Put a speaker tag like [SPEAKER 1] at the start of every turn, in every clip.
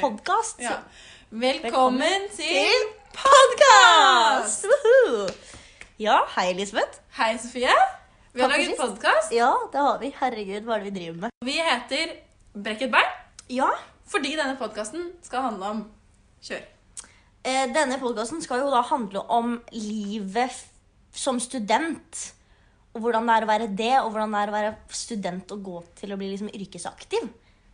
[SPEAKER 1] podkast.
[SPEAKER 2] Ja.
[SPEAKER 1] Velkommen,
[SPEAKER 2] Velkommen
[SPEAKER 1] til
[SPEAKER 2] til
[SPEAKER 1] podkast! Ja, hei, Elisabeth.
[SPEAKER 2] Hei, Sofie. Vi har
[SPEAKER 1] Takk for
[SPEAKER 2] laget
[SPEAKER 1] sist.
[SPEAKER 2] podkast.
[SPEAKER 1] Ja, det har vi. Herregud, hva er det vi driver med?
[SPEAKER 2] Vi heter Brekk et bein
[SPEAKER 1] Ja,
[SPEAKER 2] fordi denne podkasten skal handle om kjør.
[SPEAKER 1] eh, Denne podkasten skal jo da handle om livet f- som student. Og hvordan det er å være det, og hvordan det er å være student og gå til å bli liksom yrkesaktiv.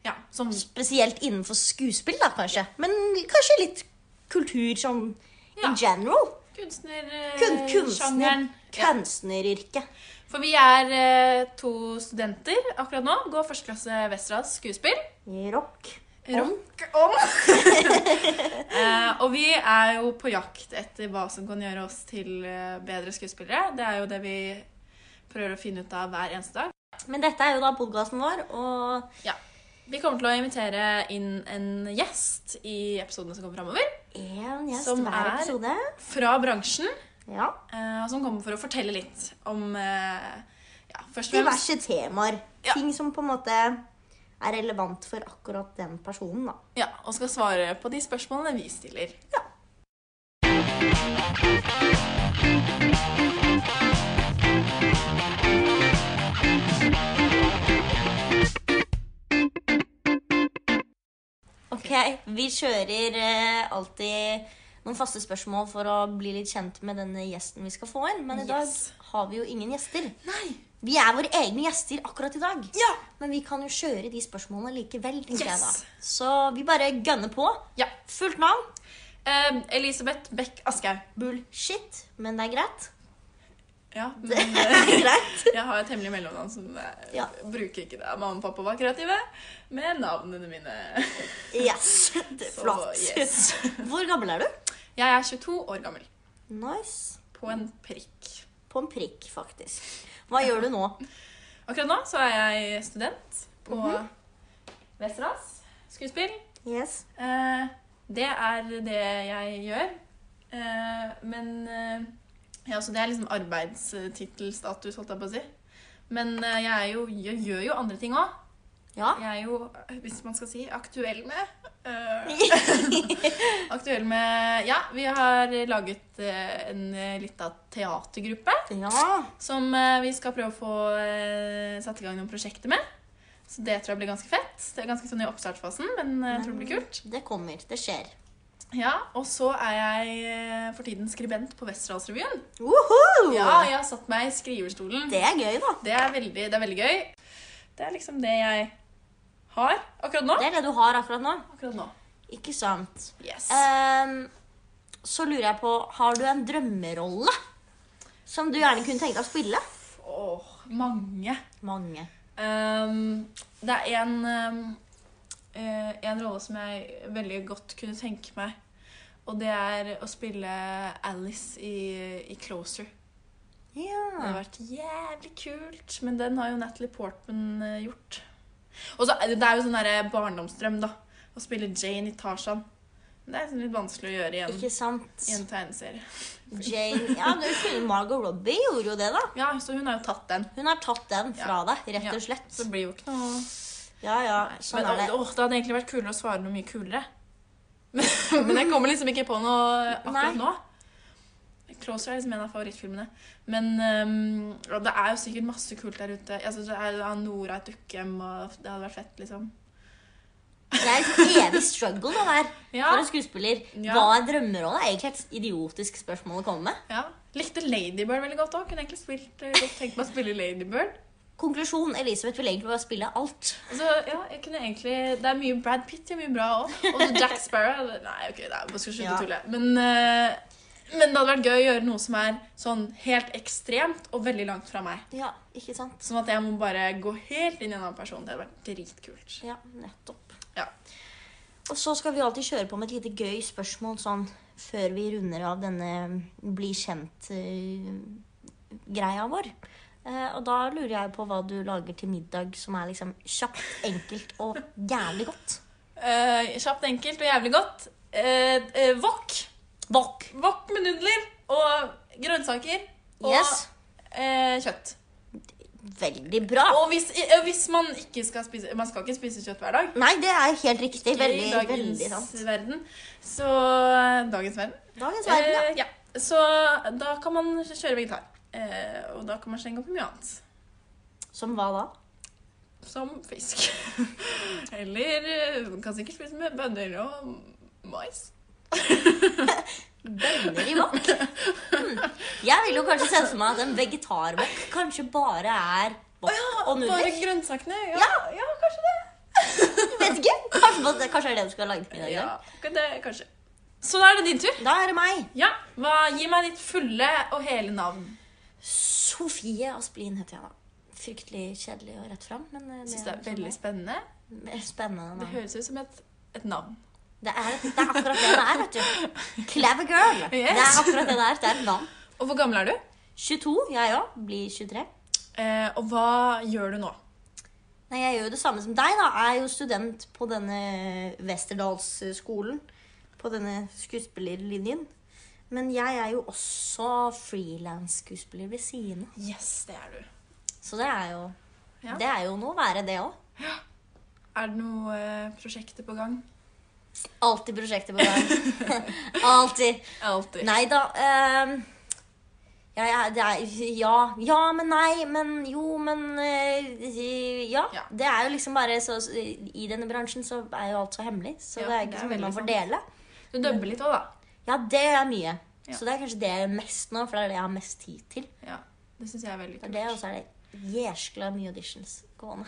[SPEAKER 2] Ja, som
[SPEAKER 1] Spesielt innenfor skuespill, da, kanskje. Men kanskje litt kultur sånn
[SPEAKER 2] Ja.
[SPEAKER 1] in general. Kun kunstner,
[SPEAKER 2] kunstnersjangeren.
[SPEAKER 1] kunstneryrket.
[SPEAKER 2] eh, For vi er eh, to studenter akkurat nå. Går første klasse Westerdals skuespill.
[SPEAKER 1] Rock.
[SPEAKER 2] Rock om! eh, og vi er jo på jakt etter hva som kan gjøre oss til eh, bedre skuespillere. Det er jo det vi prøver å finne ut av hver eneste dag.
[SPEAKER 1] Men dette er jo da podkasten vår, og
[SPEAKER 2] Vi kommer til å invitere inn en gjest i episodene som kommer framover.
[SPEAKER 1] én gjest
[SPEAKER 2] Som
[SPEAKER 1] hver
[SPEAKER 2] er-
[SPEAKER 1] episode.
[SPEAKER 2] Fra bransjen,
[SPEAKER 1] Ja.
[SPEAKER 2] eh, som kommer for å fortelle litt om eh, ja, først og fremst
[SPEAKER 1] Diverse temaer.
[SPEAKER 2] Ja.
[SPEAKER 1] Ting som på en måte er relevant for akkurat den personen, da.
[SPEAKER 2] ja, Og skal svare på de spørsmålene vi stiller.
[SPEAKER 1] Ok, Vi kjører eh, alltid noen faste spørsmål for å bli litt kjent med denne gjesten vi skal få inn. Men i
[SPEAKER 2] Yes.
[SPEAKER 1] dag har vi jo ingen gjester.
[SPEAKER 2] Nei!
[SPEAKER 1] Vi er våre egne gjester akkurat i dag.
[SPEAKER 2] Ja!
[SPEAKER 1] Men vi kan jo kjøre de spørsmålene likevel, tenker jeg
[SPEAKER 2] Yes.
[SPEAKER 1] da. Så vi bare gønner på.
[SPEAKER 2] ja.
[SPEAKER 1] Fullt navn.
[SPEAKER 2] Eh, Elisabeth Beck Aschehoug.
[SPEAKER 1] Bullshit, men det er greit.
[SPEAKER 2] Ja, men eh,
[SPEAKER 1] Det er greit.
[SPEAKER 2] jeg har et hemmelig mellomnavn som eh,
[SPEAKER 1] Ja.
[SPEAKER 2] bruker ikke det. Mamma og pappa var kreative med navnene mine.
[SPEAKER 1] Yes. Det er
[SPEAKER 2] Så,
[SPEAKER 1] flott.
[SPEAKER 2] yes.
[SPEAKER 1] Hvor gammel er du?
[SPEAKER 2] Jeg er 22 år gammel.
[SPEAKER 1] Nice.
[SPEAKER 2] På en prikk.
[SPEAKER 1] På en prikk, faktisk. Hva gjør du nå?
[SPEAKER 2] Akkurat nå så er jeg student på Westerdals skuespill.
[SPEAKER 1] Yes.
[SPEAKER 2] Eh, det er det jeg gjør. Eh, men eh, ja, så det er liksom arbeidstittelstatus, holdt jeg på å si. Men eh, jeg, er jo, jeg gjør jo andre ting òg.
[SPEAKER 1] Ja.
[SPEAKER 2] Jeg er jo, hvis man skal si, aktuell med eh, Aktuell med Ja, vi har laget eh, en eh, lita teatergruppe.
[SPEAKER 1] Ja.
[SPEAKER 2] Som eh, vi skal prøve å få eh, satt i gang noen prosjekter med. Så det tror jeg blir ganske fett. Det er ganske sånn i oppstartsfasen, men eh, jeg tror det blir kult.
[SPEAKER 1] Det kommer. Det skjer.
[SPEAKER 2] Ja, Og så er jeg eh, for tiden skribent på Westerdalsrevyen.
[SPEAKER 1] Woho!
[SPEAKER 2] Ja, jeg har satt meg i skriverstolen.
[SPEAKER 1] Det er gøy, da.
[SPEAKER 2] Det er, veldig, det er veldig gøy. Det er liksom det jeg har akkurat nå.
[SPEAKER 1] Det er det du har akkurat nå.
[SPEAKER 2] Akkurat nå.
[SPEAKER 1] Ikke sant.
[SPEAKER 2] Yes.
[SPEAKER 1] Ehm, så lurer jeg på, har du en drømmerolle som du gjerne kunne tenke deg å spille?
[SPEAKER 2] Åh, mange.
[SPEAKER 1] Mange.
[SPEAKER 2] Ehm, det er en, ehm, eh, en rolle som jeg veldig godt kunne tenke meg. Og det er å spille Alice i, i Closer. Det
[SPEAKER 1] Ja.
[SPEAKER 2] hadde vært jævlig kult, men den har jo Natalie Portman eh, gjort. Og så er det det er jo sånn derre barndomsdrøm, da. Å spille Jane i Tarzan. Men det er sånn litt vanskelig å gjøre i en,
[SPEAKER 1] Ikke sant.
[SPEAKER 2] i en tegneserie.
[SPEAKER 1] Jane Ja, du kunne Margot Robbie gjorde jo det, da.
[SPEAKER 2] Ja, så hun har jo tatt den.
[SPEAKER 1] Hun har tatt den fra deg, rett
[SPEAKER 2] Ja.
[SPEAKER 1] og slett.
[SPEAKER 2] Så det blir jo ikke noe
[SPEAKER 1] Ja, ja, sånn
[SPEAKER 2] Men
[SPEAKER 1] er det.
[SPEAKER 2] åh, det hadde egentlig vært kulere å svare noe mye kulere. Men, men jeg kommer liksom ikke på noe akkurat
[SPEAKER 1] Nei.
[SPEAKER 2] nå. Closer er liksom en av favorittfilmene. Men ehm, og det er jo sikkert masse kult der ute. Jeg synes det er det er Nora et Dukkehjem, og det hadde vært fett, liksom.
[SPEAKER 1] Det er et evig struggle, det der.
[SPEAKER 2] Ja.
[SPEAKER 1] For en skuespiller.
[SPEAKER 2] Ja.
[SPEAKER 1] Hva er drømmerolle? Det er egentlig et idiotisk spørsmål å komme med.
[SPEAKER 2] ja. Likte Ladybird veldig godt òg. Kunne egentlig spilt, eh, godt tenkt meg å spille Ladybird.
[SPEAKER 1] Konklusjon Elisabeth vil egentlig bare spille alt.
[SPEAKER 2] Altså, ja, jeg kunne egentlig, Det er mye Brad Pitt gjør mye bra òg. Og så Jack Sparrow Nei, ok, nei, jeg skal slutte
[SPEAKER 1] Ja.
[SPEAKER 2] å tulle. Men, eh, men det hadde vært gøy å gjøre noe som er sånn helt ekstremt og veldig langt fra meg.
[SPEAKER 1] Ja, ikke sant?
[SPEAKER 2] Sånn at jeg må bare gå helt inn i en annen person. Det hadde vært dritkult.
[SPEAKER 1] Ja, nettopp.
[SPEAKER 2] Ja.
[SPEAKER 1] Og så skal vi alltid kjøre på med et lite gøy spørsmål sånn før vi runder av denne mm, bli kjent-greia eh, vår. Eh, og da lurer jeg på hva du lager til middag som er liksom kjapt, enkelt og jævlig godt.
[SPEAKER 2] Eh, kjapt, enkelt og jævlig godt. Eh, eh, wok.
[SPEAKER 1] Wok.
[SPEAKER 2] Wok med nudler og grønnsaker og
[SPEAKER 1] Yes.
[SPEAKER 2] eh, kjøtt.
[SPEAKER 1] veldig bra.
[SPEAKER 2] Og hvis, eh, hvis man ikke skal spise Man skal ikke spise kjøtt hver dag.
[SPEAKER 1] Nei, det er helt riktig.
[SPEAKER 2] Ikke
[SPEAKER 1] Veldig,
[SPEAKER 2] i dagens
[SPEAKER 1] veldig sant.
[SPEAKER 2] verden. Så Dagens verden.
[SPEAKER 1] Dagens verden, ja.
[SPEAKER 2] Eh, ja. Så da kan man kjøre vegetar. Eh, og da kan man slenge opp i mye annet.
[SPEAKER 1] Som hva da?
[SPEAKER 2] Som fisk. Eller eh, man kan sikkert spise med bønner og mais.
[SPEAKER 1] Bønner i wok. Hmm. Jeg vil jo kanskje se for meg at en vegetarwok kanskje bare er wok og
[SPEAKER 2] Bare
[SPEAKER 1] nudler.
[SPEAKER 2] grønnsakene. Ja,
[SPEAKER 1] Ja.
[SPEAKER 2] ja kanskje det.
[SPEAKER 1] Vet ikke. Kanskje, det- kanskje det er det du skal lage til middag i
[SPEAKER 2] Ja,
[SPEAKER 1] dag.
[SPEAKER 2] ok, det kanskje. Så da er det din tur.
[SPEAKER 1] Da er det meg.
[SPEAKER 2] Ja, hva, Gi meg ditt fulle og hele navn.
[SPEAKER 1] Sofie Asplin heter jeg da. Fryktelig kjedelig og rett fram, men eh,
[SPEAKER 2] Jeg syns det
[SPEAKER 1] er
[SPEAKER 2] er veldig
[SPEAKER 1] sånn
[SPEAKER 2] spennende.
[SPEAKER 1] det er. spennende.
[SPEAKER 2] Det
[SPEAKER 1] navn.
[SPEAKER 2] høres ut som et, et navn.
[SPEAKER 1] Det er, det er akkurat det det er, vet du. Clever girl. Det er
[SPEAKER 2] Yes.
[SPEAKER 1] akkurat det det er. Det er et navn.
[SPEAKER 2] Og hvor gammel er du?
[SPEAKER 1] 22, jeg òg. Blir 23.
[SPEAKER 2] Eh, og hva gjør du nå?
[SPEAKER 1] Nei, jeg gjør jo det samme som deg, da. Jeg er jo student på denne Westerdalsskolen. På denne skuespillerlinjen. Men jeg er jo også frilans-skuespiller ved siden av.
[SPEAKER 2] Yes, det er du.
[SPEAKER 1] Så det er jo
[SPEAKER 2] Ja.
[SPEAKER 1] Det er jo noe å være, det òg.
[SPEAKER 2] Er det noe eh, prosjekter på gang?
[SPEAKER 1] Alltid prosjekter på gang. Alltid.
[SPEAKER 2] Alltid.
[SPEAKER 1] Nei da ehm, ja, ja, det er, ja, ja, men nei, men jo, men eh, ja.
[SPEAKER 2] Ja.
[SPEAKER 1] Det er jo liksom bare så I denne bransjen så er jo alt så hemmelig, så
[SPEAKER 2] Ja,
[SPEAKER 1] det er
[SPEAKER 2] det
[SPEAKER 1] ikke
[SPEAKER 2] er
[SPEAKER 1] så mye
[SPEAKER 2] veldig
[SPEAKER 1] man
[SPEAKER 2] sant.
[SPEAKER 1] får dele.
[SPEAKER 2] Du dubber litt òg, da.
[SPEAKER 1] Ja, det er mye.
[SPEAKER 2] Ja.
[SPEAKER 1] Så det er kanskje det jeg gjør mest nå, for det er det jeg har mest tid til.
[SPEAKER 2] Ja, Det syns jeg er veldig
[SPEAKER 1] Det er det, og så er det jæskla mye auditions gående.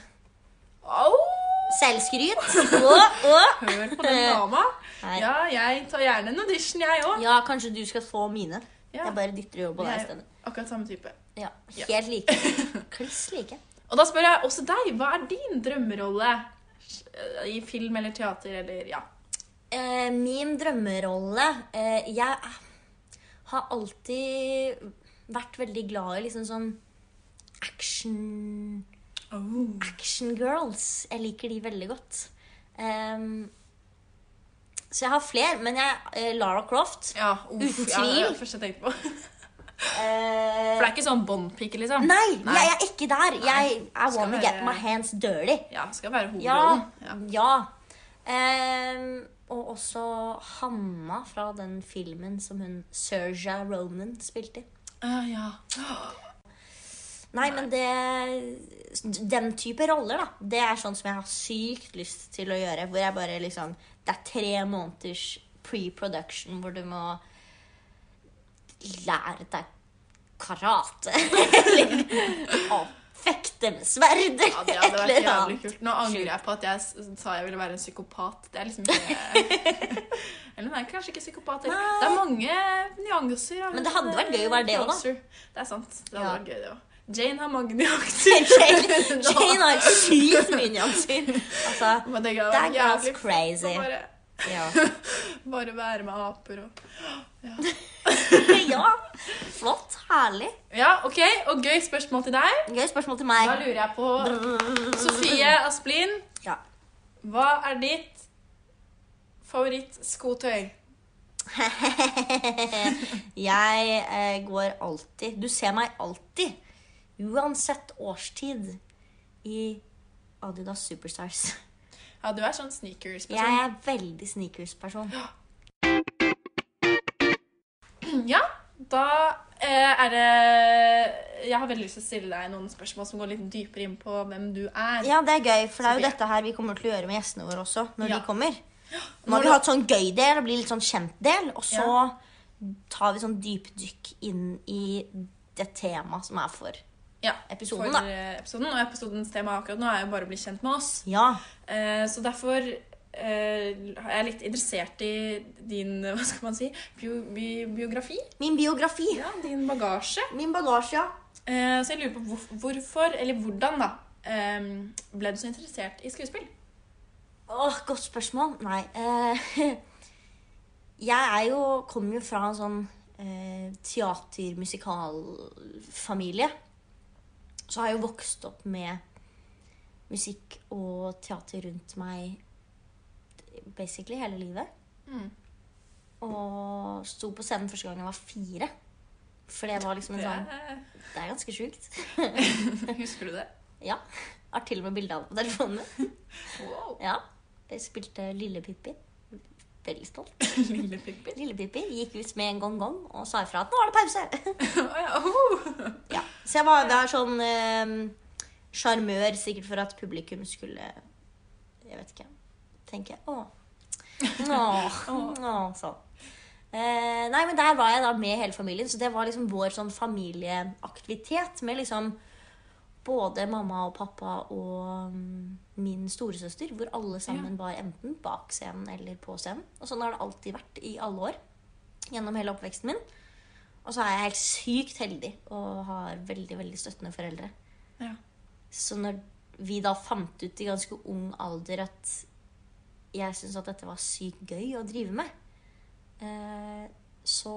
[SPEAKER 2] Au!
[SPEAKER 1] Selvskryt! Og, og.
[SPEAKER 2] Hør på den dama.
[SPEAKER 1] Nei.
[SPEAKER 2] Ja, jeg tar gjerne en audition, jeg òg.
[SPEAKER 1] Ja, kanskje du skal få mine.
[SPEAKER 2] Ja,
[SPEAKER 1] Jeg bare dytter jo på deg i
[SPEAKER 2] Jeg-
[SPEAKER 1] stedet.
[SPEAKER 2] akkurat samme type.
[SPEAKER 1] Ja,
[SPEAKER 2] Ja.
[SPEAKER 1] Helt like. Kliss like.
[SPEAKER 2] Og da spør jeg også deg, hva er din drømmerolle Eh, i film eller teater eller ja?
[SPEAKER 1] Eh, min drømmerolle eh, Jeg har alltid vært veldig glad i liksom sånn action Action girls. Jeg liker de veldig godt. Em, så jeg har fler, men jeg eh, Lara Croft
[SPEAKER 2] Ja, uff,
[SPEAKER 1] Uten
[SPEAKER 2] ja, det var
[SPEAKER 1] tvil.
[SPEAKER 2] det første jeg tenkte på.
[SPEAKER 1] eh,
[SPEAKER 2] For det er ikke sånn båndpike, liksom?
[SPEAKER 1] Nei,
[SPEAKER 2] Nei.
[SPEAKER 1] jeg er ikke der. Jeg I
[SPEAKER 2] skal
[SPEAKER 1] wanna
[SPEAKER 2] være-
[SPEAKER 1] get my hands dirty.
[SPEAKER 2] Ja, skal være
[SPEAKER 1] Ja.
[SPEAKER 2] hovedrollen. Ja.
[SPEAKER 1] Ja. Em, og også Hanna fra den filmen som hun Serja Ronan spilte i.
[SPEAKER 2] Ah, ja.
[SPEAKER 1] Nei, men det Den type roller, da. Det er sånn som jeg har sykt lyst til å gjøre. Hvor jeg bare liksom Det er tre måneders pre-production hvor du må lære deg karate. Eller å fekte med sverd.
[SPEAKER 2] ja, det hadde
[SPEAKER 1] eller
[SPEAKER 2] vært jævlig
[SPEAKER 1] annet.
[SPEAKER 2] kult. Nå angrer jeg på at jeg s- sa jeg ville være en psykopat. Det er liksom ikke Eller nei, kanskje ikke psykopat. eller-
[SPEAKER 1] Nei.
[SPEAKER 2] Det er mange nyanser. av
[SPEAKER 1] Men det hadde vært gøy å være det også, da.
[SPEAKER 2] Closer. Det er sant. Det hadde
[SPEAKER 1] Ja.
[SPEAKER 2] vært gøy, det òg. Jane har mange nyanser.
[SPEAKER 1] Jane Jane har sykt mye nyanser. Altså,
[SPEAKER 2] Men det hadde
[SPEAKER 1] that
[SPEAKER 2] vært
[SPEAKER 1] girl's
[SPEAKER 2] jævlig f- å
[SPEAKER 1] crazy.
[SPEAKER 2] bare,
[SPEAKER 1] Ja.
[SPEAKER 2] bare være med aper og
[SPEAKER 1] ja. Flott. Herlig.
[SPEAKER 2] Ja, OK. Og gøy spørsmål til deg.
[SPEAKER 1] Gøy spørsmål til
[SPEAKER 2] Da
[SPEAKER 1] meg.
[SPEAKER 2] lurer jeg på Sofie Asplin.
[SPEAKER 1] Ja.
[SPEAKER 2] Hva er ditt favorittskotøy?
[SPEAKER 1] Jeg eh, går alltid Du ser meg alltid, uansett årstid, i Adidas Superstars.
[SPEAKER 2] Ja, du er sånn sneakers-person.
[SPEAKER 1] Jeg er sånn. veldig sneakers-person.
[SPEAKER 2] Ja, da eh, er det Jeg har veldig lyst til å stille deg noen spørsmål som går litt dypere inn på hvem du er.
[SPEAKER 1] Ja, det er gøy, for det er jo
[SPEAKER 2] Sofie.
[SPEAKER 1] dette her vi kommer til å gjøre med gjestene våre også. når
[SPEAKER 2] Ja.
[SPEAKER 1] de kommer. Nå
[SPEAKER 2] Når
[SPEAKER 1] har vi
[SPEAKER 2] du-
[SPEAKER 1] hatt sånn gøy-del og blir litt sånn kjent-del, og så tar vi sånn dypdykk inn i det temaet som er for
[SPEAKER 2] Ja,
[SPEAKER 1] episoden,
[SPEAKER 2] for,
[SPEAKER 1] da.
[SPEAKER 2] eh, episoden. Og episodens tema akkurat nå er jo bare å bli kjent med oss.
[SPEAKER 1] Ja.
[SPEAKER 2] Eh, så derfor eh, er jeg litt interessert i din hva skal man si, bio, bi, biografi.
[SPEAKER 1] Min biografi.
[SPEAKER 2] Ja, Din bagasje.
[SPEAKER 1] Min bagasje, ja.
[SPEAKER 2] Eh, så jeg lurer på hvorf- hvorfor, eller hvordan, da, eh, ble du så interessert i skuespill?
[SPEAKER 1] Åh, godt spørsmål. Nei. eh, jeg er jo, kommer jo fra en sånn eh, teater-musikalfamilie. Så har jeg jo vokst opp med musikk og teater rundt meg basically hele livet.
[SPEAKER 2] Mm.
[SPEAKER 1] Og sto på scenen første gang jeg var fire. For det var liksom en sånn
[SPEAKER 2] Det-
[SPEAKER 1] Det er ganske sjukt.
[SPEAKER 2] Husker du det?
[SPEAKER 1] Ja. Har til og med bilde av det på telefonen. min.
[SPEAKER 2] Wow.
[SPEAKER 1] Ja. Jeg spilte Lille Pippi. Veldig stolt.
[SPEAKER 2] Lille Pippi.
[SPEAKER 1] Lille Pippi gikk ut med en gong-gong og sa ifra at 'nå er det pause'.
[SPEAKER 2] Å ja, oh.
[SPEAKER 1] Ja. Så jeg var der sånn eh, sjarmør, sikkert for at publikum skulle Jeg vet ikke. Tenke 'å'. Nå, nå, sånn. Eh, nei, men der var jeg da med hele familien, så det var liksom vår sånn familieaktivitet med liksom både mamma og pappa og mm, min storesøster, hvor alle sammen var enten bak scenen eller på scenen. Og sånn har det alltid vært i alle år gjennom hele oppveksten min. Og så er jeg helt sykt heldig og har veldig, veldig støttende foreldre.
[SPEAKER 2] Ja.
[SPEAKER 1] Så når vi da fant ut i ganske ung alder at jeg syntes at dette var sykt gøy å drive med, eh, så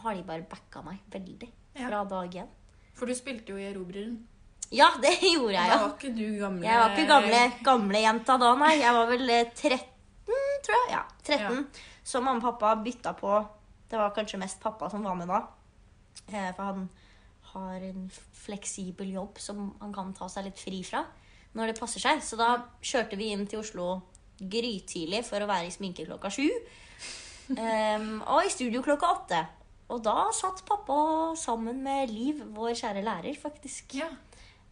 [SPEAKER 1] har de bare backa meg veldig
[SPEAKER 2] Ja.
[SPEAKER 1] fra dag én.
[SPEAKER 2] For du spilte jo i Erobreren.
[SPEAKER 1] Ja, det gjorde jeg,
[SPEAKER 2] Da
[SPEAKER 1] ja.
[SPEAKER 2] var ikke du gamle
[SPEAKER 1] Jeg var ikke gamle, gamle jenta da, nei. Jeg var vel eh, 13, tror jeg. Ja, 13. Så mamma og pappa bytta på. Det var kanskje mest pappa som var med da. Eh, For han har en fleksibel jobb som han kan ta seg litt fri fra når det passer seg. Så da kjørte vi inn til Oslo grytidlig for å være i sminke klokka sju. Em, og i studio klokka åtte. Og da satt pappa sammen med Liv, vår kjære lærer, faktisk
[SPEAKER 2] Ja.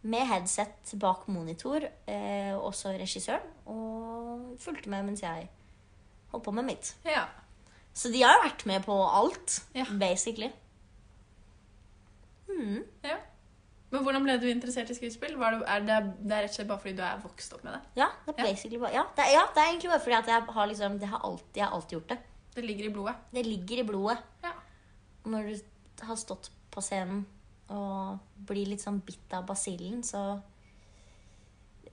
[SPEAKER 1] med headset bak monitor, eh, også regissøren, og fulgte med mens jeg holdt på med mitt.
[SPEAKER 2] ja.
[SPEAKER 1] Så de har jo vært med på alt,
[SPEAKER 2] Ja.
[SPEAKER 1] basically. Mm.
[SPEAKER 2] ja. Men hvordan ble du interessert i skuespill? Var det, er det, det er rett og slett bare fordi du er vokst opp med det?
[SPEAKER 1] Ja, det er
[SPEAKER 2] Ja.
[SPEAKER 1] basically bare, ja, det er, ja, det er egentlig bare fordi at jeg har liksom, det har alltid, jeg har alltid gjort det.
[SPEAKER 2] Det ligger i blodet.
[SPEAKER 1] Det ligger i blodet.
[SPEAKER 2] Ja.
[SPEAKER 1] Når du har stått på scenen og blir litt sånn bitt av basillen, så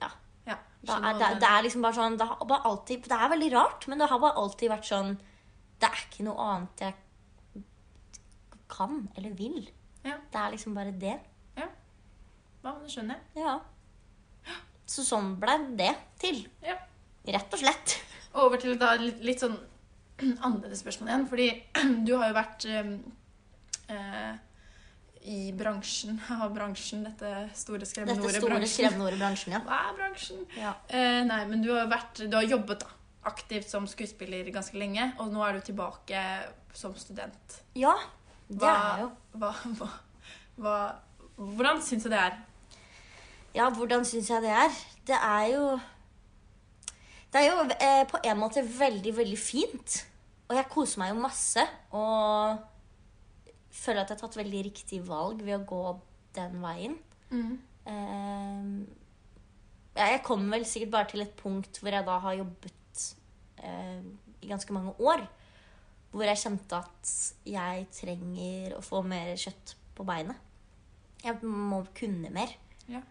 [SPEAKER 1] ja,
[SPEAKER 2] Ja.
[SPEAKER 1] Da
[SPEAKER 2] skjønner
[SPEAKER 1] er,
[SPEAKER 2] hva
[SPEAKER 1] det,
[SPEAKER 2] du
[SPEAKER 1] det
[SPEAKER 2] mener.
[SPEAKER 1] er liksom bare sånn det, har bare alltid, det er veldig rart, men det har bare alltid vært sånn Det er ikke noe annet jeg kan eller vil.
[SPEAKER 2] Ja.
[SPEAKER 1] Det er liksom bare det.
[SPEAKER 2] Hva, men det skjønner jeg.
[SPEAKER 1] Ja. Så sånn ble det til.
[SPEAKER 2] Ja.
[SPEAKER 1] Rett og slett.
[SPEAKER 2] Over til da litt, litt sånn annerledes spørsmål igjen, fordi du har jo vært eh, eh, i bransjen, av bransjen, dette store skremmende
[SPEAKER 1] Dette
[SPEAKER 2] ordet.
[SPEAKER 1] store
[SPEAKER 2] bransjen.
[SPEAKER 1] skrevne ordet bransjen, ja.
[SPEAKER 2] Hva er bransjen?
[SPEAKER 1] ja.
[SPEAKER 2] Eh, nei, men du har, jo vært, du har jobbet da, aktivt som skuespiller ganske lenge, og nå er du tilbake som student.
[SPEAKER 1] Ja, det
[SPEAKER 2] Hva-
[SPEAKER 1] er jo
[SPEAKER 2] Hva, hva, hva, hvordan syns du det er?
[SPEAKER 1] Ja, hvordan syns jeg det er? Det er jo Det er jo eh, på en måte veldig, veldig fint. Og jeg koser meg jo masse. Og føler at jeg har tatt veldig riktig valg ved å gå den veien.
[SPEAKER 2] Mm.
[SPEAKER 1] Eh, ja, jeg kom vel sikkert bare til et punkt hvor jeg da har jobbet eh, i ganske mange år. Hvor jeg kjente at jeg trenger å få mer kjøtt på beinet. Jeg må kunne mer.
[SPEAKER 2] Ja.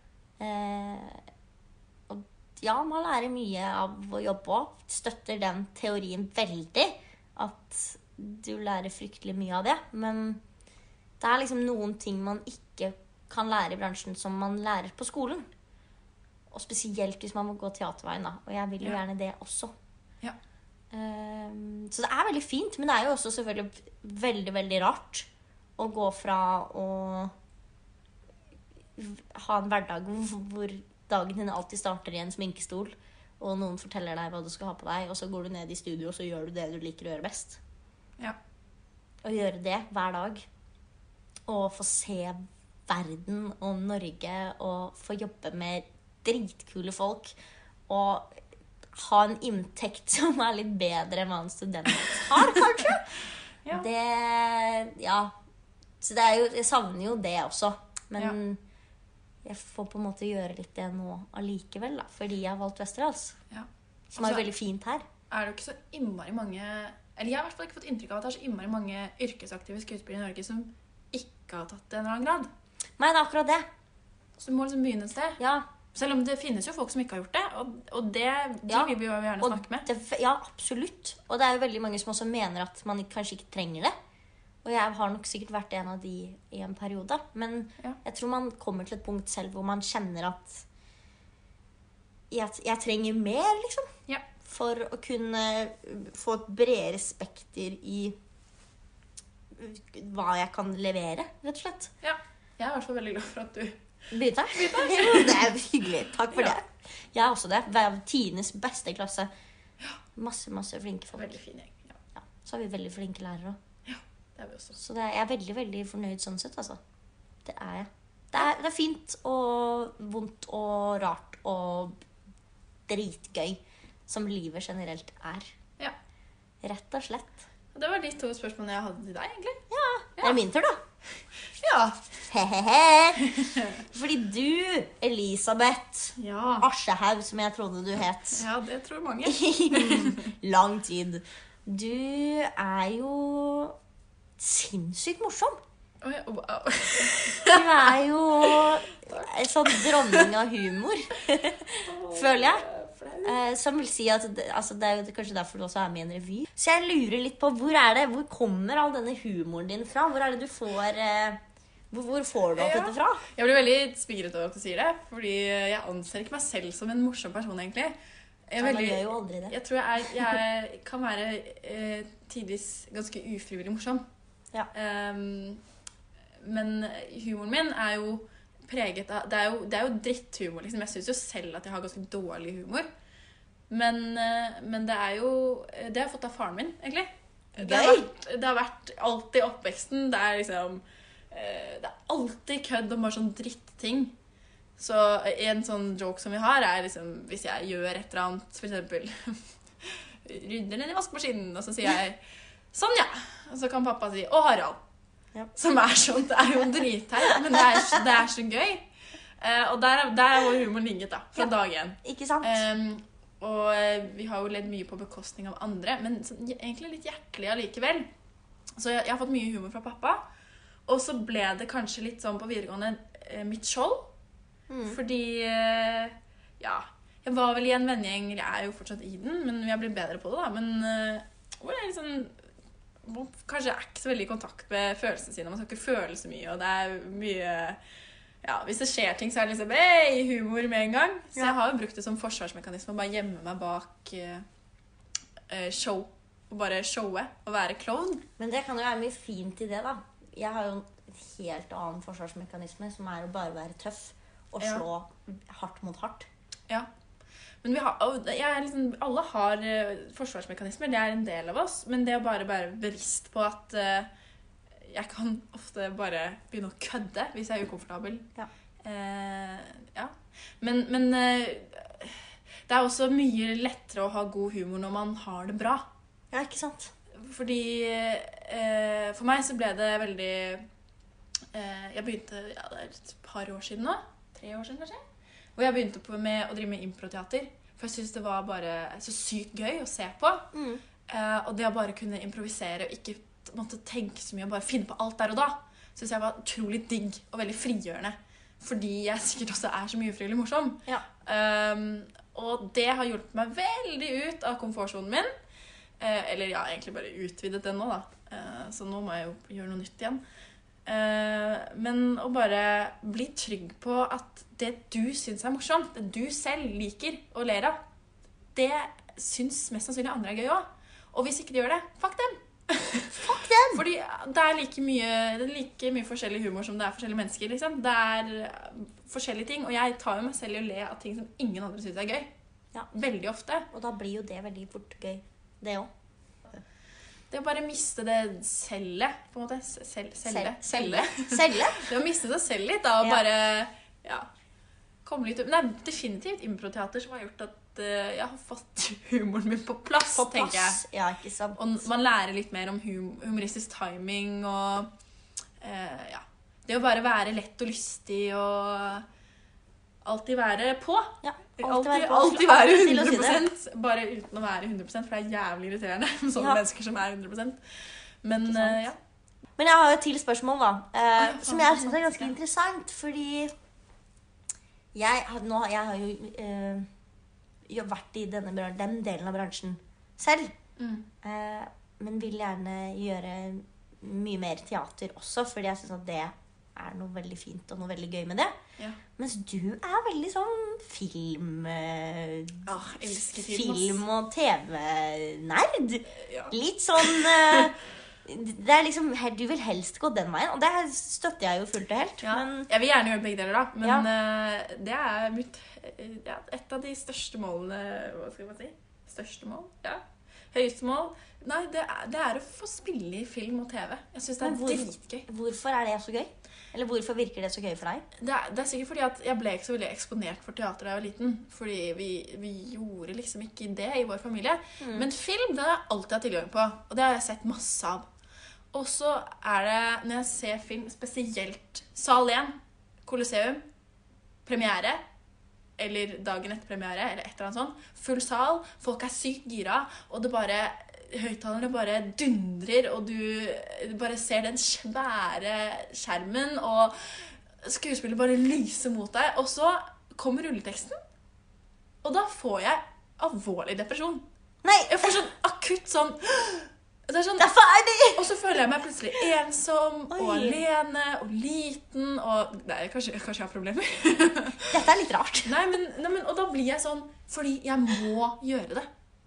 [SPEAKER 1] Eh, og ja, man lærer mye av å jobbe òg. Støtter den teorien veldig. At du lærer fryktelig mye av det. Men det er liksom noen ting man ikke kan lære i bransjen som man lærer på skolen. Og spesielt hvis man må gå teaterveien, da. Og jeg vil jo
[SPEAKER 2] Ja.
[SPEAKER 1] gjerne det også.
[SPEAKER 2] Ja.
[SPEAKER 1] Ehm, så det er veldig fint, men det er jo også selvfølgelig veldig, veldig rart å gå fra å ha en hverdag hvor- hvor dagen din alltid starter i en sminkestol, og noen forteller deg hva du skal ha på deg, og så går du ned i studio og så gjør du det du liker å gjøre best.
[SPEAKER 2] Ja.
[SPEAKER 1] Å gjøre det hver dag, og få se verden og Norge, og få jobbe med dritkule folk, og ha en inntekt som er litt bedre enn hva en student har, kanskje.
[SPEAKER 2] Ja.
[SPEAKER 1] Det Ja. Så det er jo, jeg savner jo det også. Men jeg får på en måte gjøre litt det nå allikevel, da, fordi jeg har valgt Westerdals.
[SPEAKER 2] Ja.
[SPEAKER 1] Som er
[SPEAKER 2] Altså-
[SPEAKER 1] jo veldig fint her.
[SPEAKER 2] er det jo ikke så innmari mange Eller jeg har i hvert fall ikke fått inntrykk av at det er så innmari mange yrkesaktive skuespillere i Norge som ikke har tatt det i en eller annen grad.
[SPEAKER 1] Nei, det er akkurat det.
[SPEAKER 2] Så du må liksom begynne et sted.
[SPEAKER 1] Ja,
[SPEAKER 2] Selv om det finnes jo folk som ikke har gjort det, og, og det de
[SPEAKER 1] Ja,
[SPEAKER 2] vil vi jo gjerne
[SPEAKER 1] og
[SPEAKER 2] snakke med.
[SPEAKER 1] det, ja absolutt. Og det er jo veldig mange som også mener at man ikke- kanskje ikke trenger det. Og jeg har nok sikkert vært en av de i en periode. Men
[SPEAKER 2] Ja.
[SPEAKER 1] jeg tror man kommer til et punkt selv hvor man kjenner at jeg, jeg trenger mer, liksom.
[SPEAKER 2] Ja.
[SPEAKER 1] For å kunne få et bredere spekter i hva jeg kan levere, rett og slett.
[SPEAKER 2] Jeg er i hvert fall veldig glad for at du
[SPEAKER 1] Bryta? det er hyggelig. Takk for
[SPEAKER 2] Ja.
[SPEAKER 1] det. Jeg er også det. Hver tidenes beste klasse. Masse, masse flinke folk.
[SPEAKER 2] Veldig fin gjeng. Ja,
[SPEAKER 1] Ja. Så har vi veldig flinke lærere òg.
[SPEAKER 2] det er vi også.
[SPEAKER 1] Så det er, jeg er veldig, veldig fornøyd sånn sett, altså. Det er jeg. Det er, det er fint og vondt og rart og dritgøy som livet generelt er.
[SPEAKER 2] Ja.
[SPEAKER 1] Rett og slett.
[SPEAKER 2] Og Det var de to spørsmålene jeg hadde til deg, egentlig.
[SPEAKER 1] Det er min tur, da.
[SPEAKER 2] Ja.
[SPEAKER 1] Hehehe. Fordi du, Elisabeth
[SPEAKER 2] Ja,
[SPEAKER 1] Asjehaug, som jeg trodde du het
[SPEAKER 2] ja det tror mange.
[SPEAKER 1] lang tid Du er jo sinnssykt morsom.
[SPEAKER 2] Oi, wow.
[SPEAKER 1] Du er jo en sånn dronning av humor, føler jeg.
[SPEAKER 2] Flau.
[SPEAKER 1] Eh, som vil si at det, altså det er jo kanskje derfor du også er med i en revy. Så jeg lurer litt på hvor er det, hvor kommer all denne humoren din fra? Hvor er det du får eh, hvor, hvor får du alt
[SPEAKER 2] Ja.
[SPEAKER 1] dette fra?
[SPEAKER 2] Jeg blir veldig spigret over at du sier det, fordi jeg anser ikke meg selv som en morsom person, egentlig. Jeg, er
[SPEAKER 1] Man
[SPEAKER 2] veldig,
[SPEAKER 1] gjør jo aldri det.
[SPEAKER 2] jeg tror jeg, er, jeg er, kan være eh, tidvis ganske ufrivillig morsom.
[SPEAKER 1] Ja.
[SPEAKER 2] Ehm, men humoren min er jo preget av Det er jo, det er jo dritthumor, liksom. Jeg syns jo selv at jeg har ganske dårlig humor. Men, eh, men det er jo Det har jeg fått av faren min, egentlig. Det har,
[SPEAKER 1] Gøy!
[SPEAKER 2] vært, det har vært alltid oppveksten. Det er liksom eh, Det er alltid kødd om bare sånn dritting. Så en sånn joke som vi har, er liksom hvis jeg gjør et eller annet, f.eks. rydder den i vaskemaskinen, og så sier jeg 'sånn, ja'. Og så kan pappa si 'Å, Harald'.
[SPEAKER 1] Ja.
[SPEAKER 2] Som er sånn. Det er jo dritteit, men det er, så- det er så gøy. Eh, og der, er- der er vår humor ligget, da. Fra
[SPEAKER 1] Ja.
[SPEAKER 2] dag én.
[SPEAKER 1] Ikke sant?
[SPEAKER 2] Ehm, og eh, vi har jo ledd mye på bekostning av andre, men sånn, je- egentlig litt hjertelig allikevel. Så jeg, jeg har fått mye humor fra pappa. Og så ble det kanskje litt sånn på videregående eh, mitt skjold.
[SPEAKER 1] Mm.
[SPEAKER 2] Fordi eh, Ja. Jeg var vel i en vennegjeng Jeg er jo fortsatt i den, men jeg blir bedre på det, da. Men eh, hvor det er liksom hvor Kanskje er ikke så veldig i kontakt med følelsene sine. Man skal ikke føle så mye, og det er mye ja, Hvis det skjer ting, så er det liksom Hei, humor med en gang. Så
[SPEAKER 1] Ja.
[SPEAKER 2] jeg har jo brukt det som forsvarsmekanisme å bare gjemme meg bak eh, eh, show. Og bare showe og være klovn.
[SPEAKER 1] Men det kan jo være mye fint i det, da. Jeg har jo en helt annen forsvarsmekanisme, som er å bare være tøff og
[SPEAKER 2] Ja.
[SPEAKER 1] slå hardt mot hardt.
[SPEAKER 2] Men vi har, og jeg er liksom, alle har eh, forsvarsmekanismer, det er en del av oss. Men det å bare være bevisst på at eh, jeg kan ofte bare begynne å kødde hvis jeg er ukomfortabel.
[SPEAKER 1] Ja.
[SPEAKER 2] Eh, ja. Men, men eh, det er også mye lettere å ha god humor når man har det bra.
[SPEAKER 1] Ja, ikke sant?
[SPEAKER 2] Fordi eh, for meg så ble det veldig eh, Jeg begynte ja, det er et par år siden nå. Tre år siden, kanskje. Hvor jeg begynte på med å drive med improteater. For jeg syntes det var bare så sykt gøy å se på.
[SPEAKER 1] Mm.
[SPEAKER 2] Eh, og det å bare kunne improvisere og ikke t- måtte tenke så mye og bare finne på alt der og da, syns jeg var utrolig digg og veldig frigjørende. Fordi jeg sikkert også er så mye ufrivillig morsom.
[SPEAKER 1] Ja.
[SPEAKER 2] Ehm, og det har hjulpet meg veldig ut av komfortsonen min. Eh, eller ja, egentlig bare utvidet den nå, da. Eh, så nå må jeg jo gjøre noe nytt igjen. Eh, men å bare bli trygg på at det du syns er morsomt, det du selv liker og ler av, det syns mest sannsynlig andre er gøy òg. Og hvis ikke de gjør det, fuck dem. fuck dem! Fordi det er like mye, det er like mye forskjellig humor som det er forskjellige mennesker. liksom. Det er eh, forskjellige ting, og jeg tar jo meg selv i å le av ting som ingen andre syns er gøy.
[SPEAKER 1] Ja.
[SPEAKER 2] Veldig ofte.
[SPEAKER 1] Og da blir jo det veldig fort gøy, det òg.
[SPEAKER 2] Det å bare miste det cellet, på en måte. S- Sel, selle.
[SPEAKER 1] Selv-
[SPEAKER 2] Selle.
[SPEAKER 1] Selge?
[SPEAKER 2] Det å miste seg selv litt, da, og
[SPEAKER 1] Ja.
[SPEAKER 2] bare ja, komme litt ut. Men det er definitivt improteater som har gjort at eh, jeg har fått humoren min på plass,
[SPEAKER 1] På
[SPEAKER 2] tenker jeg.
[SPEAKER 1] plass. Ja, ikke sant?
[SPEAKER 2] Og man lærer litt mer om hum humoristisk timing og eh, ja. Det å bare være lett og lystig og alltid være på.
[SPEAKER 1] Ja,
[SPEAKER 2] Alltid,
[SPEAKER 1] være
[SPEAKER 2] alltid,
[SPEAKER 1] på.
[SPEAKER 2] være
[SPEAKER 1] til å si det.
[SPEAKER 2] 100 bare uten å være 100 for det er jævlig irriterende med sånne
[SPEAKER 1] Ja.
[SPEAKER 2] mennesker som er 100 Men
[SPEAKER 1] Ikke sant?
[SPEAKER 2] eh, ja.
[SPEAKER 1] Men jeg har jo et til spørsmål, da.
[SPEAKER 2] ja,
[SPEAKER 1] Eh,
[SPEAKER 2] faen,
[SPEAKER 1] som jeg
[SPEAKER 2] det er
[SPEAKER 1] syns er
[SPEAKER 2] sant,
[SPEAKER 1] ganske
[SPEAKER 2] ja.
[SPEAKER 1] interessant, fordi jeg har, nå, jeg har jo eh, jo vært i denne bra- den delen av bransjen selv.
[SPEAKER 2] Mm.
[SPEAKER 1] Eh, men vil gjerne gjøre mye mer teater også, fordi jeg syns at det er noe veldig fint og noe veldig gøy med det.
[SPEAKER 2] Ja.
[SPEAKER 1] Mens du er veldig sånn film eh,
[SPEAKER 2] Ah, jeg elsker film, ass.
[SPEAKER 1] Film- og TV-nerd.
[SPEAKER 2] Ja.
[SPEAKER 1] Litt sånn eh, Det er liksom, her- Du vil helst gå den veien, og det her støtter jeg jo fullt og helt.
[SPEAKER 2] Ja.
[SPEAKER 1] Men
[SPEAKER 2] Jeg vil gjerne gjøre begge deler, da. Men eh, det er mitt eh, ja, Et av de største målene Hva skal man si? Største mål? Ja. Høyeste mål? Nei, det er, det er å få spille i film og TV. Jeg syns det
[SPEAKER 1] Men
[SPEAKER 2] er
[SPEAKER 1] hvor-
[SPEAKER 2] dritgøy.
[SPEAKER 1] hvorfor er det så gøy? Eller hvorfor virker det så gøy for deg?
[SPEAKER 2] Det er, det er sikkert fordi at jeg ble ikke så veldig eksponert for teater da jeg var liten. Fordi vi, vi gjorde liksom ikke det i vår familie.
[SPEAKER 1] Mm.
[SPEAKER 2] Men film den har jeg alltid hatt tilgang på, og det har jeg sett masse av. Og så er det, når jeg ser film, spesielt Sal 1, Colosseum, premiere, eller dagen etter premiere, eller et eller annet sånt, full sal, folk er sykt gira, og det bare Høyttalerne bare dundrer, og du bare ser den svære skjermen, og skuespillet bare lyser mot deg. Og så kommer rulleteksten, og da får jeg alvorlig depresjon.
[SPEAKER 1] Nei!
[SPEAKER 2] Jeg får sånn akutt sånn det er sånn,
[SPEAKER 1] Derfor er det
[SPEAKER 2] Og så føler jeg meg plutselig ensom og
[SPEAKER 1] Oi.
[SPEAKER 2] alene og liten og Nei, kanskje, kanskje jeg har problemer.
[SPEAKER 1] Dette er litt rart.
[SPEAKER 2] Nei, men, nei, men, Og da blir jeg sånn fordi jeg må gjøre det.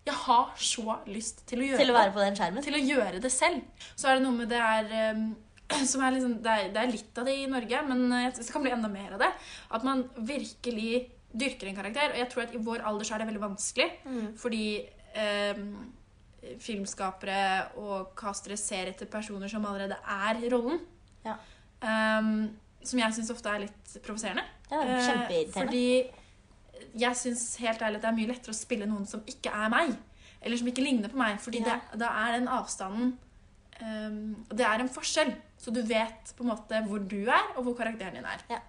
[SPEAKER 2] Jeg har så lyst til å gjøre
[SPEAKER 1] Til å
[SPEAKER 2] det
[SPEAKER 1] være på den skjermen.
[SPEAKER 2] til å gjøre det selv. Så er det noe med det er um, som er liksom, det, er, det er litt av det i Norge, men eh, jeg synes det kan bli enda mer av det. At man virkelig dyrker en karakter. Og jeg tror at i vår alder så er det veldig vanskelig,
[SPEAKER 1] Mm.
[SPEAKER 2] fordi um, filmskapere og castere ser etter personer som allerede er i rollen.
[SPEAKER 1] Ja.
[SPEAKER 2] Um, som jeg syns ofte er litt provoserende.
[SPEAKER 1] Det er kjempeirriterende.
[SPEAKER 2] Eh, Fordi jeg syns helt ærlig at det er mye lettere å spille noen som ikke er meg. Eller som ikke ligner på meg. Fordi
[SPEAKER 1] Ja.
[SPEAKER 2] det, da er den avstanden ehm, og Det er en forskjell. Så du vet på en måte hvor du er, og hvor karakteren din er.
[SPEAKER 1] Ja.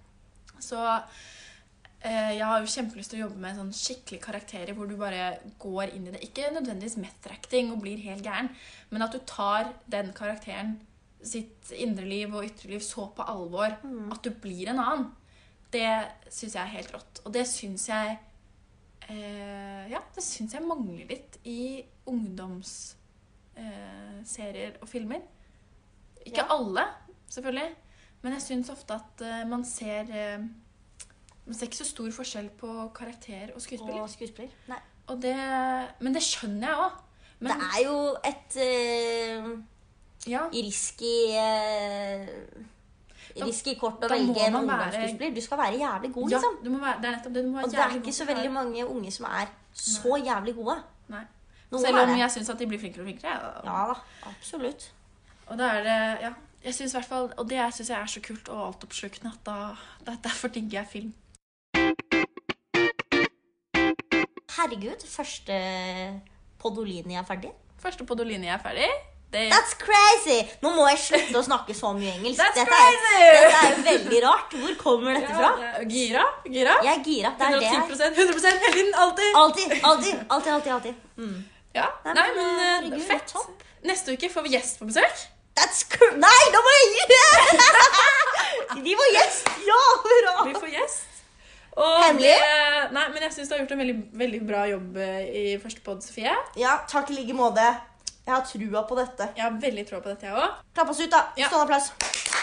[SPEAKER 2] Så eh, jeg har jo kjempelyst til å jobbe med sånn skikkelig karakterer hvor du bare går inn i det. Ikke nødvendigvis method-acting og blir helt gæren, men at du tar den karakteren sitt indre liv og ytre liv så på alvor
[SPEAKER 1] Mm.
[SPEAKER 2] at du blir en annen. Det syns jeg er helt rått. Og det syns jeg eh, Ja, det syns jeg mangler litt i ungdomsserier eh, serier og filmer. Ikke
[SPEAKER 1] Ja.
[SPEAKER 2] alle, selvfølgelig, men jeg syns ofte at eh, man ser eh, Man ser ikke så stor forskjell på karakter og skuespiller.
[SPEAKER 1] Og skuespiller. Nei.
[SPEAKER 2] Og det, men det skjønner jeg òg.
[SPEAKER 1] Det
[SPEAKER 2] Men
[SPEAKER 1] er jo et eh,
[SPEAKER 2] ja,
[SPEAKER 1] risky eh,
[SPEAKER 2] Da-
[SPEAKER 1] Risky kort å
[SPEAKER 2] da må
[SPEAKER 1] velge en
[SPEAKER 2] man være-
[SPEAKER 1] ungdomsskuespiller. Du skal være jævlig god,
[SPEAKER 2] ja
[SPEAKER 1] liksom.
[SPEAKER 2] du må være, det er nettopp det. Du må være
[SPEAKER 1] Og det er
[SPEAKER 2] jævlig
[SPEAKER 1] ikke
[SPEAKER 2] god
[SPEAKER 1] så
[SPEAKER 2] til å
[SPEAKER 1] veldig
[SPEAKER 2] være-
[SPEAKER 1] mange unge som er så jævlig gode.
[SPEAKER 2] Nei.
[SPEAKER 1] Noen
[SPEAKER 2] Selv
[SPEAKER 1] er
[SPEAKER 2] om
[SPEAKER 1] det.
[SPEAKER 2] jeg syns at de blir flinkere og flinkere. jeg, da.
[SPEAKER 1] Ja da, absolutt.
[SPEAKER 2] Og da er det, ja, jeg synes i hvert fall, og det syns jeg er så kult og altoppslukende at da, da, derfor digger jeg film.
[SPEAKER 1] Herregud, første Podolini er ferdig.
[SPEAKER 2] Første Podoline jeg er ferdig. Det,
[SPEAKER 1] That's crazy! Nå må jeg slutte å snakke så mye engelsk.
[SPEAKER 2] That's
[SPEAKER 1] dette, er,
[SPEAKER 2] crazy!
[SPEAKER 1] dette er jo veldig rart. Hvor kommer dette fra?
[SPEAKER 2] Ja, det- gira? gira?
[SPEAKER 1] Jeg er gira. Det er det jeg er.
[SPEAKER 2] 110 100 hele tiden, alltid!
[SPEAKER 1] Alltid, alltid, alltid. alltid, alltid. Mm.
[SPEAKER 2] Ja,
[SPEAKER 1] Nei,
[SPEAKER 2] Nei,
[SPEAKER 1] men,
[SPEAKER 2] men eh,
[SPEAKER 1] herregud,
[SPEAKER 2] fett.
[SPEAKER 1] topp.
[SPEAKER 2] Neste uke får vi gjest på besøk.
[SPEAKER 1] That's cr... Nei, nå må jeg De var gjest! Ja, hurra!
[SPEAKER 2] Vi får gjest. Og
[SPEAKER 1] Hemmelig?
[SPEAKER 2] det- Nei, men jeg syns du har gjort en veldig, veldig bra jobb eh, i første pod, Sofie.
[SPEAKER 1] Ja, takk i like måte. Jeg har trua på dette.
[SPEAKER 2] Jeg har veldig tro på dette, jeg òg.
[SPEAKER 1] Klapp oss ut, da.
[SPEAKER 2] Ja.
[SPEAKER 1] Stående applaus.